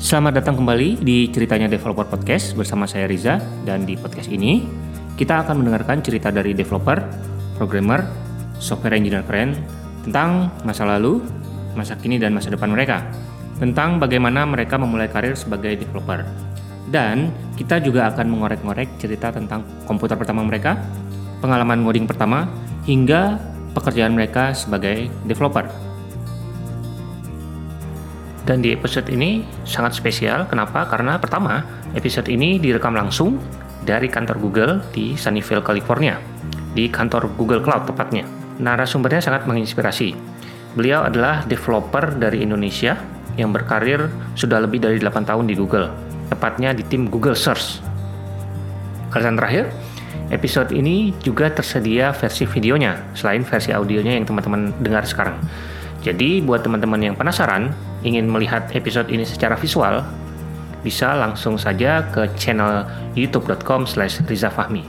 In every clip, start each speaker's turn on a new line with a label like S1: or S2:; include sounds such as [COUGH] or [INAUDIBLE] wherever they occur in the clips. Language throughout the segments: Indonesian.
S1: Selamat datang kembali di Ceritanya Developer Podcast bersama saya Riza dan di podcast ini kita akan mendengarkan cerita dari developer, programmer, software engineer keren tentang masa lalu, masa kini dan masa depan mereka. Tentang bagaimana mereka memulai karir sebagai developer. Dan kita juga akan mengorek-ngorek cerita tentang komputer pertama mereka, pengalaman ngoding pertama, hingga pekerjaan mereka sebagai developer. Dan di episode ini sangat spesial. Kenapa? Karena pertama, episode ini direkam langsung dari kantor Google di Sunnyvale, California. Di kantor Google Cloud tepatnya. Narasumbernya sangat menginspirasi. Beliau adalah developer dari Indonesia yang berkarir sudah lebih dari 8 tahun di Google, tepatnya di tim Google Search. Alasan terakhir, episode ini juga tersedia versi videonya, selain versi audionya yang teman-teman dengar sekarang. Jadi, buat teman-teman yang penasaran, ingin melihat episode ini secara visual, bisa langsung saja ke channel youtube.com rizafahmi.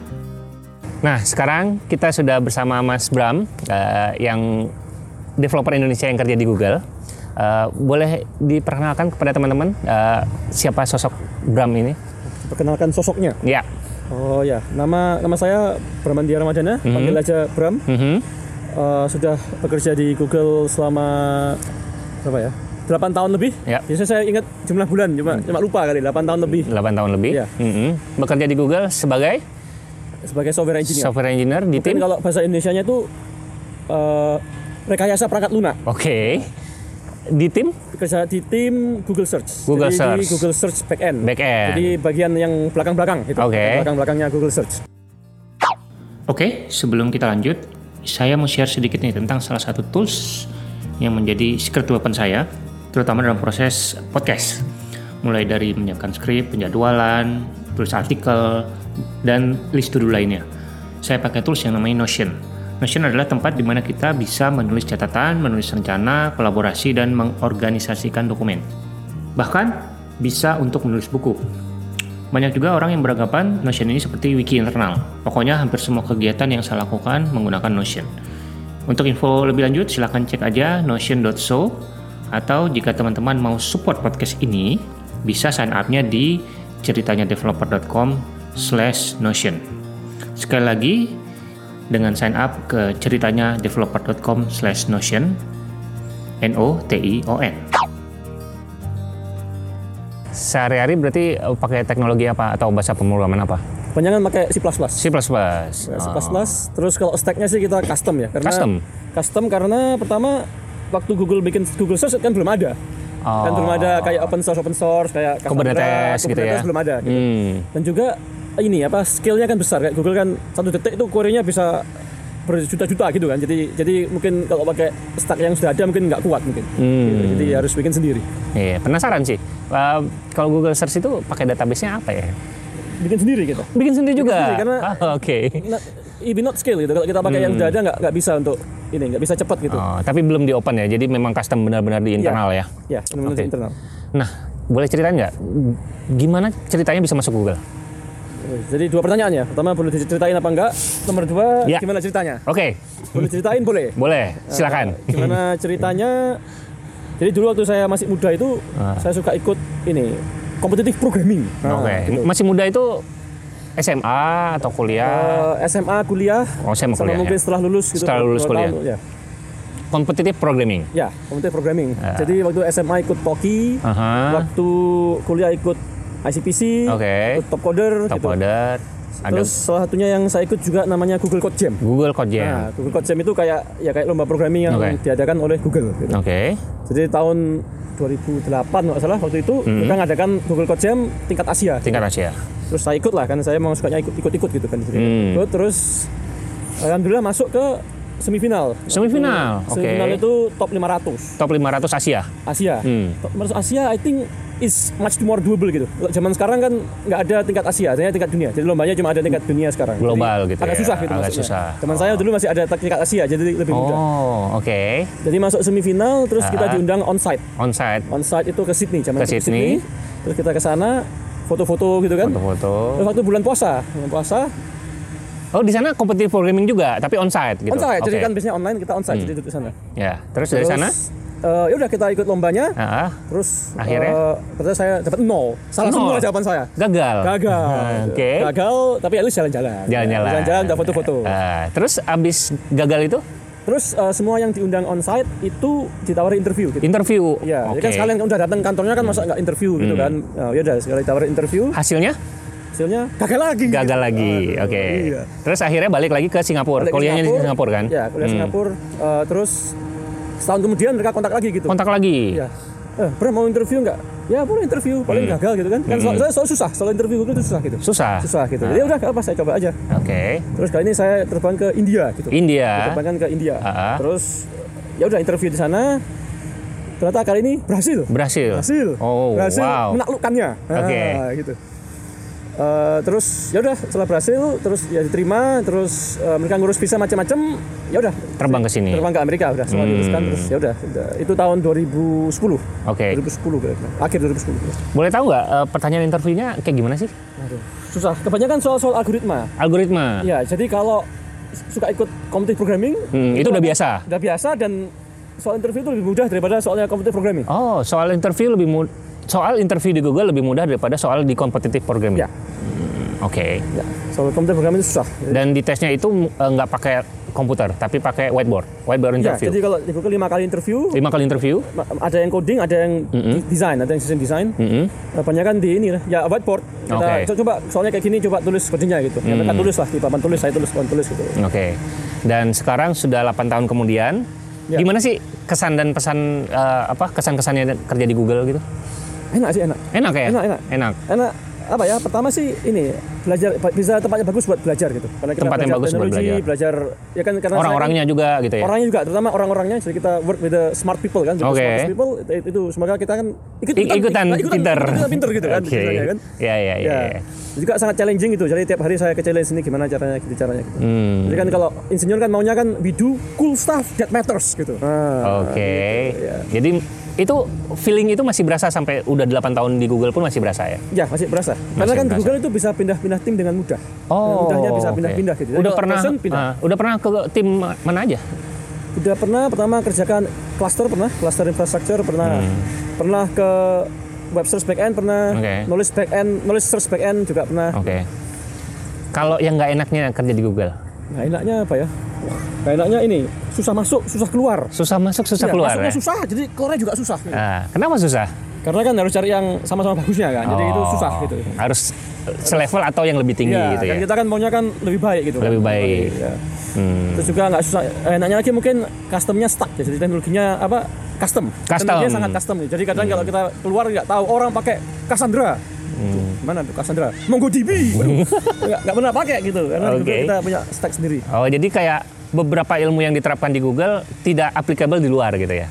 S1: Nah, sekarang kita sudah bersama Mas Bram, eh, yang developer Indonesia yang kerja di Google. Eh, boleh diperkenalkan kepada teman-teman eh, siapa sosok Bram ini?
S2: Perkenalkan sosoknya.
S1: Ya.
S2: Oh ya, nama nama saya Bramandia Ramadana, panggil aja Bram.
S1: Mhm.
S2: Eh, sudah bekerja di Google selama berapa ya? 8 tahun lebih.
S1: Ya. Mhm.
S2: Biasanya saya ingat jumlah bulan, cuma cuma lupa kali 8 tahun lebih
S1: 8 tahun lebih.
S2: Iya.
S1: Mhm. Bekerja di Google sebagai
S2: sebagai software engineer.
S1: Iya. software engineer di
S2: Mungkin
S1: tim. Oke.
S2: kalau bahasa Indonesianya itu eh rekayasa perangkat lunak.
S1: Di tim
S2: Bekerja di tim Google Search.
S1: Google
S2: Jadi Di
S1: Search.
S2: Google Search backend.
S1: Backend.
S2: Jadi bagian yang belakang-belakang gitu.
S1: Oke.
S2: Belakang-belakangnya Google Search.
S1: Oke, sebelum kita lanjut, saya mau share sedikit nih tentang salah satu tools yang menjadi secret weapon saya, terutama dalam proses podcast. Mulai dari menyiapkan skrip, penjadwalan, tulis artikel, dan list to do lainnya. Saya pakai tools yang namanya Notion. Notion adalah tempat di mana kita bisa menulis catatan, menulis rencana, kolaborasi, dan mengorganisasikan dokumen. Bahkan bisa untuk menulis buku. Banyak juga orang yang beranggapan Notion ini seperti wiki internal. Pokoknya hampir semua kegiatan yang saya lakukan menggunakan Notion. Untuk info lebih lanjut silahkan cek aja notion.so atau jika teman-teman mau support podcast ini bisa sign up-nya di ceritanyadeveloper.com slash notion. Sekali lagi dengan sign up ke ceritanyadeveloper.com slash notion N-O-T-I-O-N Sehari-hari berarti pakai teknologi apa atau bahasa pemrograman apa?
S2: Banyak kan pakai C++.
S1: C++. Oh.
S2: C++. Terus kalau stack-nya sih kita custom ya. Karena
S1: Ah. Custom?
S2: Custom karena pertama waktu Google bikin Google Search kan belum ada. Kan
S1: Oh.
S2: belum ada kayak open source open source kayak Cassandra,
S1: Kubernetes gitu
S2: Kubernetes
S1: ya?
S2: belum ada. gitu.
S1: Hmm.
S2: Dan juga ini apa skill-nya kan besar kayak Google kan satu detik itu query-nya bisa berjuta-juta gitu kan. Jadi jadi mungkin kalau pakai stack yang sudah ada mungkin nggak kuat mungkin.
S1: Hmm.
S2: Gitu. Jadi harus bikin sendiri.
S1: Iya, penasaran sih. Eh, kalau Google Search itu pakai database-nya apa ya?
S2: Bikin sendiri gitu.
S1: Bikin sendiri juga.
S2: sendiri, karena-
S1: Ah, Oke.
S2: Not, it be not skill gitu. Kalau kita pakai yang
S1: Hmm.
S2: sudah ada nggak nggak bisa untuk ini nggak bisa cepat gitu.
S1: Oh, tapi belum di open ya. Jadi memang custom benar-benar di internal ya.
S2: Ya, benar-benar
S1: Oke.
S2: internal.
S1: Nah, boleh ceritain nggak gimana ceritanya bisa masuk Google?
S2: Jadi dua pertanyaan ya. Pertama boleh diceritain apa enggak? Nomor dua
S1: Ya.
S2: gimana ceritanya?
S1: Oke,
S2: Boleh ceritain boleh.
S1: boleh. Silakan.
S2: Eh, Gimana ceritanya? Jadi dulu waktu saya masih muda itu saya suka ikut ini kompetitif programming. Nah,
S1: Ah. Oke.
S2: gitu.
S1: Masih muda itu SMA atau kuliah
S2: Eh, SMA kuliah,
S1: Oh, SMA
S2: sama
S1: kuliah,
S2: mungkin
S1: ya.
S2: setelah lulus gitu.
S1: Setelah
S2: dua-
S1: lulus
S2: dua
S1: kuliah.
S2: tahun, ya.
S1: kompetitif programming.
S2: ya, kompetitif programming.
S1: Ya.
S2: Jadi waktu SMA ikut POKI,
S1: Aha.
S2: waktu kuliah ikut ICPC,
S1: Oke.
S2: ikut top coder,
S1: Top
S2: gitu.
S1: order, ada
S2: Terus salah satunya yang saya ikut juga namanya Google Code Jam.
S1: Google Code Jam.
S2: Nah, Google Code Jam itu kayak ya kayak lomba programming
S1: Iya.
S2: yang
S1: Oke.
S2: diadakan oleh Google. gitu.
S1: Oke.
S2: Jadi tahun 2008 nggak salah waktu itu mereka ngadakan Google Code Jam tingkat Asia.
S1: Hmm. Tingkat Asia.
S2: Terus saya ikut lah kan saya mau sukanya ikut ikut ikut gitu kan. Jadi
S1: Hmm.
S2: ikut, terus alhamdulillah masuk ke semifinal. Hmm.
S1: Semifinal, oke.
S2: Semifinal itu top 500
S1: Top 500 Asia.
S2: Asia.
S1: Hmm.
S2: Top 500 Asia I think is much more doable gitu. Kalau Zaman sekarang kan nggak ada tingkat Asia, hanya tingkat dunia. Jadi lombanya cuma ada tingkat dunia sekarang. Jadi
S1: Global gitu
S2: Agak
S1: ya,
S2: susah gitu
S1: agak
S2: maksudnya.
S1: susah.
S2: Zaman saya dulu masih ada tingkat Asia jadi lebih mudah.
S1: Oh, oke.
S2: Jadi masuk semifinal terus kita
S1: Ah.
S2: diundang onsite.
S1: Onsite,
S2: Onsite itu ke Sydney, zaman
S1: Ke
S2: itu
S1: Sydney.
S2: Terus kita ke sana foto-foto gitu kan.
S1: foto-foto.
S2: Terus waktu bulan puasa, bulan puasa
S1: Oh, di sana kompetitif programming juga, tapi onsite gitu.
S2: onsite. Jadi
S1: Oke.
S2: kan biasanya online kita onsite jadi duduk di sana.
S1: Ya, terus dari
S2: Terus
S1: sana?
S2: eh, ya udah kita ikut lombanya
S1: Ah,
S2: terus
S1: Akhirnya?
S2: eh, ternyata saya dapat nol salah
S1: Nol.
S2: semua jawaban saya
S1: gagal.
S2: gagal
S1: Ah, [LAUGHS] Oke.
S2: gagal tapi at least jalan-jalan
S1: Jalan-jalan.
S2: jalan-jalan udah foto-foto
S1: Ah, terus abis gagal itu
S2: terus eh, semua yang diundang onsite itu ditawari interview gitu
S1: interview.
S2: Iya, ya
S1: Oke. Hmm.
S2: kan sekalian udah datang kantornya kan masa nggak interview gitu kan. Oh, ya udah sekali tawarin interview,
S1: Hasilnya
S2: hasilnya gagal lagi.
S1: gagal lagi.
S2: Aduh,
S1: Oke.
S2: Iya.
S1: Terus akhirnya balik lagi ke Singapura.
S2: Balik ke
S1: Kuliahnya di Singapura kan?
S2: Iya, kuliah
S1: Hmm.
S2: Singapura. Eh, terus setahun kemudian mereka kontak lagi gitu.
S1: Kontak lagi.
S2: Iya. Eh, pernah mau interview nggak? Ya boleh interview, paling gagal gitu kan. Kan soal, saya soal susah, soal interview Google itu susah gitu.
S1: Hmm. Susah.
S2: Susah gitu.
S1: Ah.
S2: Jadi udah nggak apa saya coba aja.
S1: Oke.
S2: Terus kali ini saya terbang ke India gitu.
S1: India.
S2: Terbangkan ke India.
S1: Iya. Ah.
S2: Terus ya udah interview di sana. Ternyata kali ini berhasil.
S1: Berhasil.
S2: berhasil
S1: Oh,
S2: berhasil
S1: wow.
S2: menaklukkannya
S1: Oke.
S2: Ah, gitu Eh, terus ya udah setelah berhasil terus ya diterima terus eh, mereka ngurus visa macam-macam ya udah
S1: Terbang ke sini.
S2: terbang ke Amerika udah semua
S1: Hmm.
S2: diuruskan terus ya udah udah. itu tahun 2010
S1: Oke.
S2: 2010 kira-kira akhir 2010
S1: Boleh tahu nggak eh, pertanyaan interviewnya kayak gimana sih?
S2: Aduh, susah kebanyakan soal-soal algoritma
S1: Algoritma.
S2: ya jadi kalau suka ikut computer programming
S1: Hmm, itu udah biasa.
S2: udah biasa dan soal interview itu lebih mudah daripada soalnya computer programming
S1: Oh, soal interview lebih mudah. Soal interview di Google lebih mudah daripada soal di competitive programming.
S2: Ya.
S1: Hmm, Oke.
S2: ya, soal computer programming itu susah
S1: Dan di tesnya itu eh, nggak pakai komputer, tapi pakai whiteboard, whiteboard
S2: Ya,
S1: interview.
S2: jadi
S1: Iya.
S2: kalau di Google lima kali interview
S1: Lima kali interview.
S2: Ma- ada yang coding, ada yang di- desain, ada yang sistem desain.
S1: Mm-mm.
S2: Banyak kan di ini lah, ya whiteboard. Kita
S1: Mm. Oke. Mm.
S2: co- coba soalnya kayak gini coba tulis codingnya gitu. Ya, mereka tulis lah di papan tulis, saya tulis papan tulis gitu.
S1: Oke. Dan sekarang sudah 8 tahun kemudian,
S2: Ya.
S1: gimana sih kesan dan pesan eh, apa kesan-kesannya kerja di Google gitu?
S2: Enak sih enak.
S1: Enak ya?
S2: Enak, enak. Enak apa ya? Pertama sih ini belajar ba- bisa tempatnya bagus buat belajar gitu. Karena kita
S1: Tempat yang
S2: belajar
S1: bagus buat
S2: teknologi, belajar. ya kan karena saya kan-
S1: Orang-orangnya juga gitu ya.
S2: orangnya juga terutama orang-orangnya jadi kita work with the smart people kan. With the
S1: Oke.
S2: smartest people itu, itu semoga kita kan ikut
S1: Ik- ikutan pinter.
S2: ikutan pinter gitu kan.
S1: Oke.
S2: istilahnya kan.
S1: Ya, ya, ya, ya.
S2: Juga sangat challenging gitu. Jadi tiap hari saya ke challenge ini gimana caranya gitu caranya gitu.
S1: Hmm.
S2: Jadi kan kalau insinyur kan maunya kan we do cool stuff that matters gitu. Nah,
S1: Oke. Jadi itu feeling itu masih berasa sampai udah 8 tahun di Google pun masih berasa ya.
S2: Ya masih berasa. Karena kan di
S1: berasa.
S2: Google itu bisa pindah-pindah tim dengan mudah. Dengan mudahnya Ya, bisa
S1: Oh, oke.
S2: pindah-pindah gitu. Jadi
S1: Udah
S2: kalau
S1: pernah
S2: bosen, pindah.
S1: ah, udah pernah ke tim mana
S2: [LAUGHS]
S1: aja?
S2: Udah pernah pertama kerjakan cluster pernah, cluster infrastructure pernah, pernah ke web search backend pernah,
S1: Hmm. Oke. Oh.
S2: knowledge backend, knowledge search backend juga pernah.
S1: Oke. Kalau yang nggak enaknya kerja di Google,
S2: Nah enaknya apa ya? Nah, enaknya ini susah masuk, susah keluar.
S1: susah masuk susah
S2: Iya,
S1: keluar.
S2: masuknya
S1: ya?
S2: susah, jadi keluarnya juga susah.
S1: Ah, kenapa susah?
S2: Karena kan harus cari yang sama-sama bagusnya kan, jadi itu
S1: Oh,
S2: susah gitu.
S1: Harus selevel atau yang lebih tinggi
S2: Iya,
S1: gitu
S2: kan
S1: ya.
S2: kita kan maunya kan lebih baik gitu.
S1: Lebih
S2: kan.
S1: baik. Hmm.
S2: Iya. Terus juga nggak susah. eh, Enaknya lagi mungkin customnya stuck ya. Jadi teknologinya apa? Custom.
S1: Custom. Hmm.
S2: Teknologinya sangat custom. ya. Jadi kadang kalau kita keluar nggak tahu orang pakai Cassandra.
S1: Hmm.
S2: Mana tuh Cassandra? MongoDB. Waduh,
S1: [LAUGHS]
S2: nggak nggak pernah pakai gitu. Karena
S1: Oke.
S2: juga kita punya stack sendiri.
S1: Oh, jadi kayak beberapa ilmu yang diterapkan di Google tidak applicable di luar gitu ya.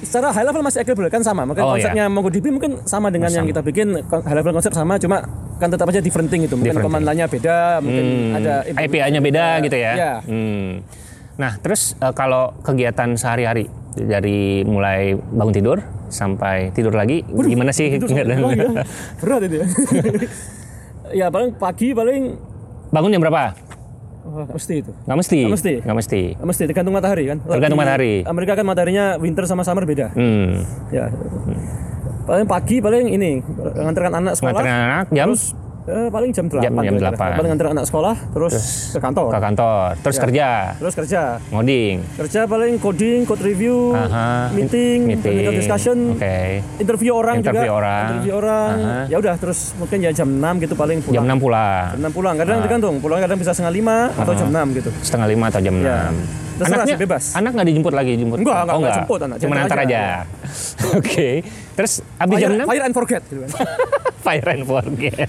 S2: Secara high level masih applicable kan sama. Maka
S1: Oh,
S2: konsepnya MongoDB mungkin sama dengan yang kita bikin Kon- high level konsep sama cuma kan tetap aja different thing gitu. Mungkin
S1: Different thing. Hmm.
S2: command line-nya beda, mungkin ada
S1: IPA-nya beda gitu ya.
S2: Iya.
S1: Hmm. Nah, terus eh, kalau kegiatan sehari-hari dari mulai bangun tidur sampai tidur lagi, gimana sih?
S2: Tidur sampai
S1: Kegiatan-
S2: pulang ya. berat itu ya [LAUGHS] ya paling pagi paling
S1: bangun jam berapa?
S2: wah, nggak mesti itu
S1: Nggak mesti.
S2: Nggak mesti.
S1: Nggak mesti.
S2: Nggak mesti tergantung matahari kan
S1: Tergantung
S2: Di
S1: matahari.
S2: Amerika kan mataharinya winter sama summer beda
S1: Hmm.
S2: ya paling pagi paling ini ngantarkan anak sekolah
S1: Nganterin anak jam
S2: eh, paling jam 8
S1: Jam- jam
S2: kira-kira.
S1: 8.
S2: paling ngantar anak sekolah terus, ke kantor
S1: ke kantor,
S2: Ya.
S1: terus kerja,
S2: terus kerja
S1: ngoding.
S2: kerja paling coding code review
S1: Aha.
S2: Oh, meeting,
S1: Meeting.
S2: technical discussion
S1: Oke.
S2: interview orang
S1: Interview
S2: juga
S1: orang.
S2: interview orang
S1: Aha.
S2: ya udah terus mungkin ya jam 6 gitu paling pulang
S1: Jam 6 pulang.
S2: Jam 6 pulang,
S1: Ah.
S2: kadang tergantung. Pulang kadang bisa setengah lima atau jam 6 gitu.
S1: Setengah lima atau jam
S2: Ya.
S1: enam.
S2: Terserah sih, bebas.
S1: Anak nggak dijemput lagi, jemput.
S2: Enggak, enggak,
S1: oh,
S2: enggak jemput anak,
S1: Cuma
S2: jemput
S1: antar
S2: aja.
S1: aja. [LAUGHS] Oke. Terus abis jam
S2: Fire,
S1: 6
S2: fire and forget gitu
S1: [LAUGHS]
S2: kan.
S1: fire and forget.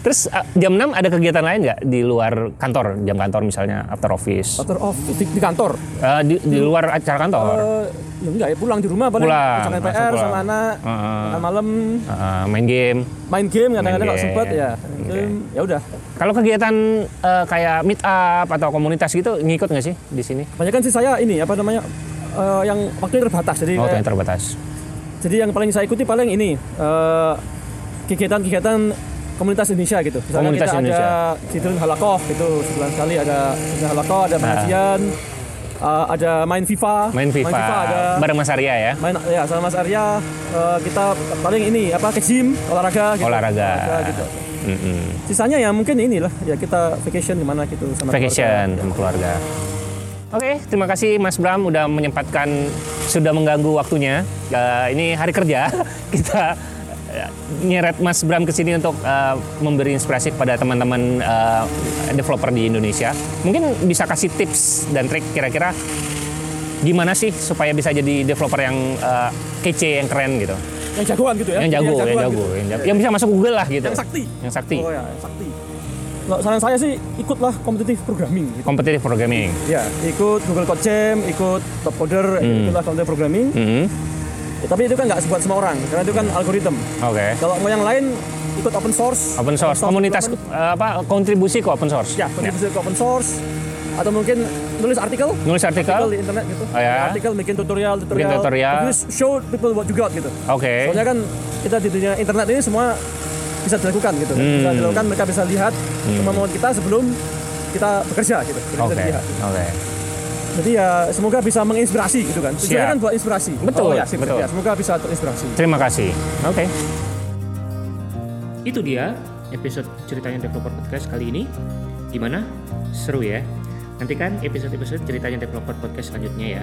S1: Terus uh, jam 6 ada kegiatan lain nggak di luar kantor, jam kantor misalnya after office,
S2: After off oh, di, di kantor.
S1: Uh, di, di luar acara kantor,
S2: Eh, ya enggak ya pulang di rumah
S1: Ah.
S2: paling
S1: Pulang,
S2: kerjaan
S1: langsung
S2: PR sama
S1: pulang. Ah.
S2: anak,
S1: Heeh.
S2: makan malam,
S1: Uh, Eh, main game.
S2: main game kadang-kadang
S1: Main
S2: kalau
S1: game.
S2: sempat ya. Main
S1: Oke.
S2: game, Ya udah.
S1: Kalau kegiatan uh, kayak meet up atau komunitas gitu ngikut nggak sih di sini?
S2: Kebanyakan sih saya ini apa namanya? eh, yang waktunya terbatas jadi
S1: Oh,
S2: kayak-
S1: yang terbatas.
S2: jadi yang paling saya ikuti paling ini eh, kegiatan-kegiatan komunitas Indonesia gitu. Misalnya
S1: Komunitas
S2: kita
S1: Indonesia.
S2: ada Sidrin Halakoh gitu sebulan sekali ada Sidrin Halakoh, ada pengajian, eh, ada main FIFA,
S3: Nah. Main FIFA,
S2: ada
S3: bareng Mas Arya ya.
S2: main ya sama Mas Arya eh, kita paling ini apa ke gym, olahraga gitu.
S3: Olahraga.
S2: gitu.
S3: Mm-mm.
S2: Sisanya ya mungkin inilah ya kita vacation kemana gitu sama
S3: Vacation
S2: keluarga.
S3: sama keluarga. Oke, terima kasih Mas Bram udah menyempatkan sudah mengganggu waktunya. Eh, ini hari kerja [LAUGHS] kita eh, nyeret Mas Bram ke sini untuk eh, memberi inspirasi kepada teman-teman eh, developer di Indonesia. Mungkin bisa kasih tips dan trik kira-kira gimana sih supaya bisa jadi developer yang eh, kece, yang keren gitu.
S2: Yang jagoan gitu ya.
S3: Yang jago, yang
S2: jagoan
S3: jago,
S2: gitu.
S3: yang jago. Yang bisa masuk Google lah gitu.
S2: Yang sakti.
S3: Yang sakti.
S2: Oh ya, yang sakti. Kalau saran saya sih ikutlah kompetitif programming gitu.
S3: Competitive programming.
S2: Ya, ikut Google Code Jam, ikut Top
S3: Hmm.
S2: Coder, ikutlah konten programming.
S3: Mhm.
S2: Ya, tapi itu kan nggak buat semua orang, karena itu kan algoritma.
S3: Oke.
S2: Kalau mau yang lain, ikut open source.
S3: open source komunitas
S2: development.
S3: eh, apa kontribusi ke open source
S2: Ya, kontribusi ke open source. Atau mungkin nulis artikel.
S3: Ya. nulis
S2: Artikel
S3: artikel
S2: di internet gitu.
S3: Oh, ya.
S2: Artikel, bikin tutorial, tutorial.
S3: Bikin tutorial.
S2: Tapi show people what you got gitu.
S3: oke
S2: Soalnya kan kita di dunia internet ini semua bisa dilakukan gitu. kan. Bisa
S3: Hmm.
S2: dilakukan, mereka bisa lihat kemampuan kita sebelum kita bekerja gitu. Mereka bisa
S3: oke
S2: dilihat.
S3: oke
S2: Jadi ya semoga bisa menginspirasi gitu kan. Tujuannya
S3: Siap.
S2: kan buat inspirasi.
S3: Betul,
S2: Oh, ya, sip, sip,
S3: betul.
S2: ya. Semoga bisa terinspirasi.
S3: terima kasih oke
S1: Itu dia episode ceritanya developer podcast kali ini. Gimana? Seru ya? Nantikan episode-episode ceritanya developer podcast selanjutnya ya.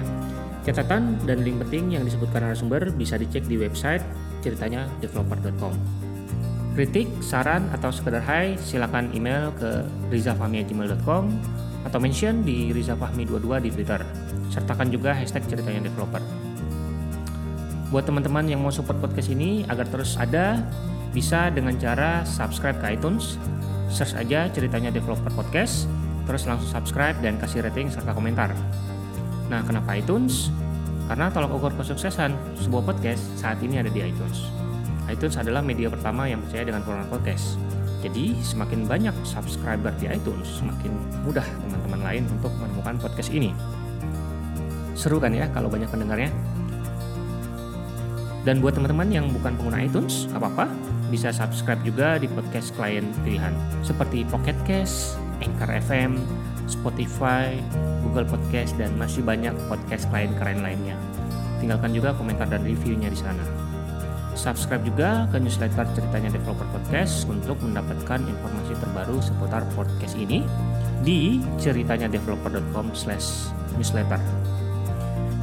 S1: Catatan dan link penting yang disebutkan narasumber bisa dicek di website ceritanya developer.com. Kritik, saran, atau sekedar hai, silakan email ke rizafahmi@gmail.com atau mention di rizafahmi22 di Twitter. Sertakan juga hashtag ceritanya developer buat teman-teman yang mau support podcast ini agar terus ada bisa dengan cara subscribe ke iTunes search aja ceritanya developer podcast terus langsung subscribe dan kasih rating serta komentar nah kenapa iTunes? karena tolak ukur kesuksesan sebuah podcast saat ini ada di iTunes iTunes adalah media pertama yang percaya dengan format podcast jadi semakin banyak subscriber di iTunes semakin mudah teman-teman lain untuk menemukan podcast ini seru kan ya kalau banyak pendengarnya dan buat teman-teman yang bukan pengguna iTunes, nggak apa-apa, bisa subscribe juga di podcast klien pilihan seperti Pocket Cast, Anchor FM, Spotify, Google Podcast, dan masih banyak podcast klien keren lainnya. Tinggalkan juga komentar dan reviewnya di sana. Subscribe juga ke newsletter ceritanya Developer Podcast untuk mendapatkan informasi terbaru seputar podcast ini di ceritanyadeveloper.com/newsletter.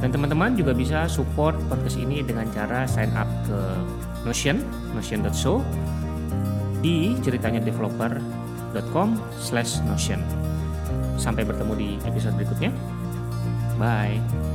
S1: Dan teman-teman juga bisa support podcast ini dengan cara sign up ke Notion, notion.so di ceritanya developer.com slash notion. Sampai bertemu di episode berikutnya. Bye.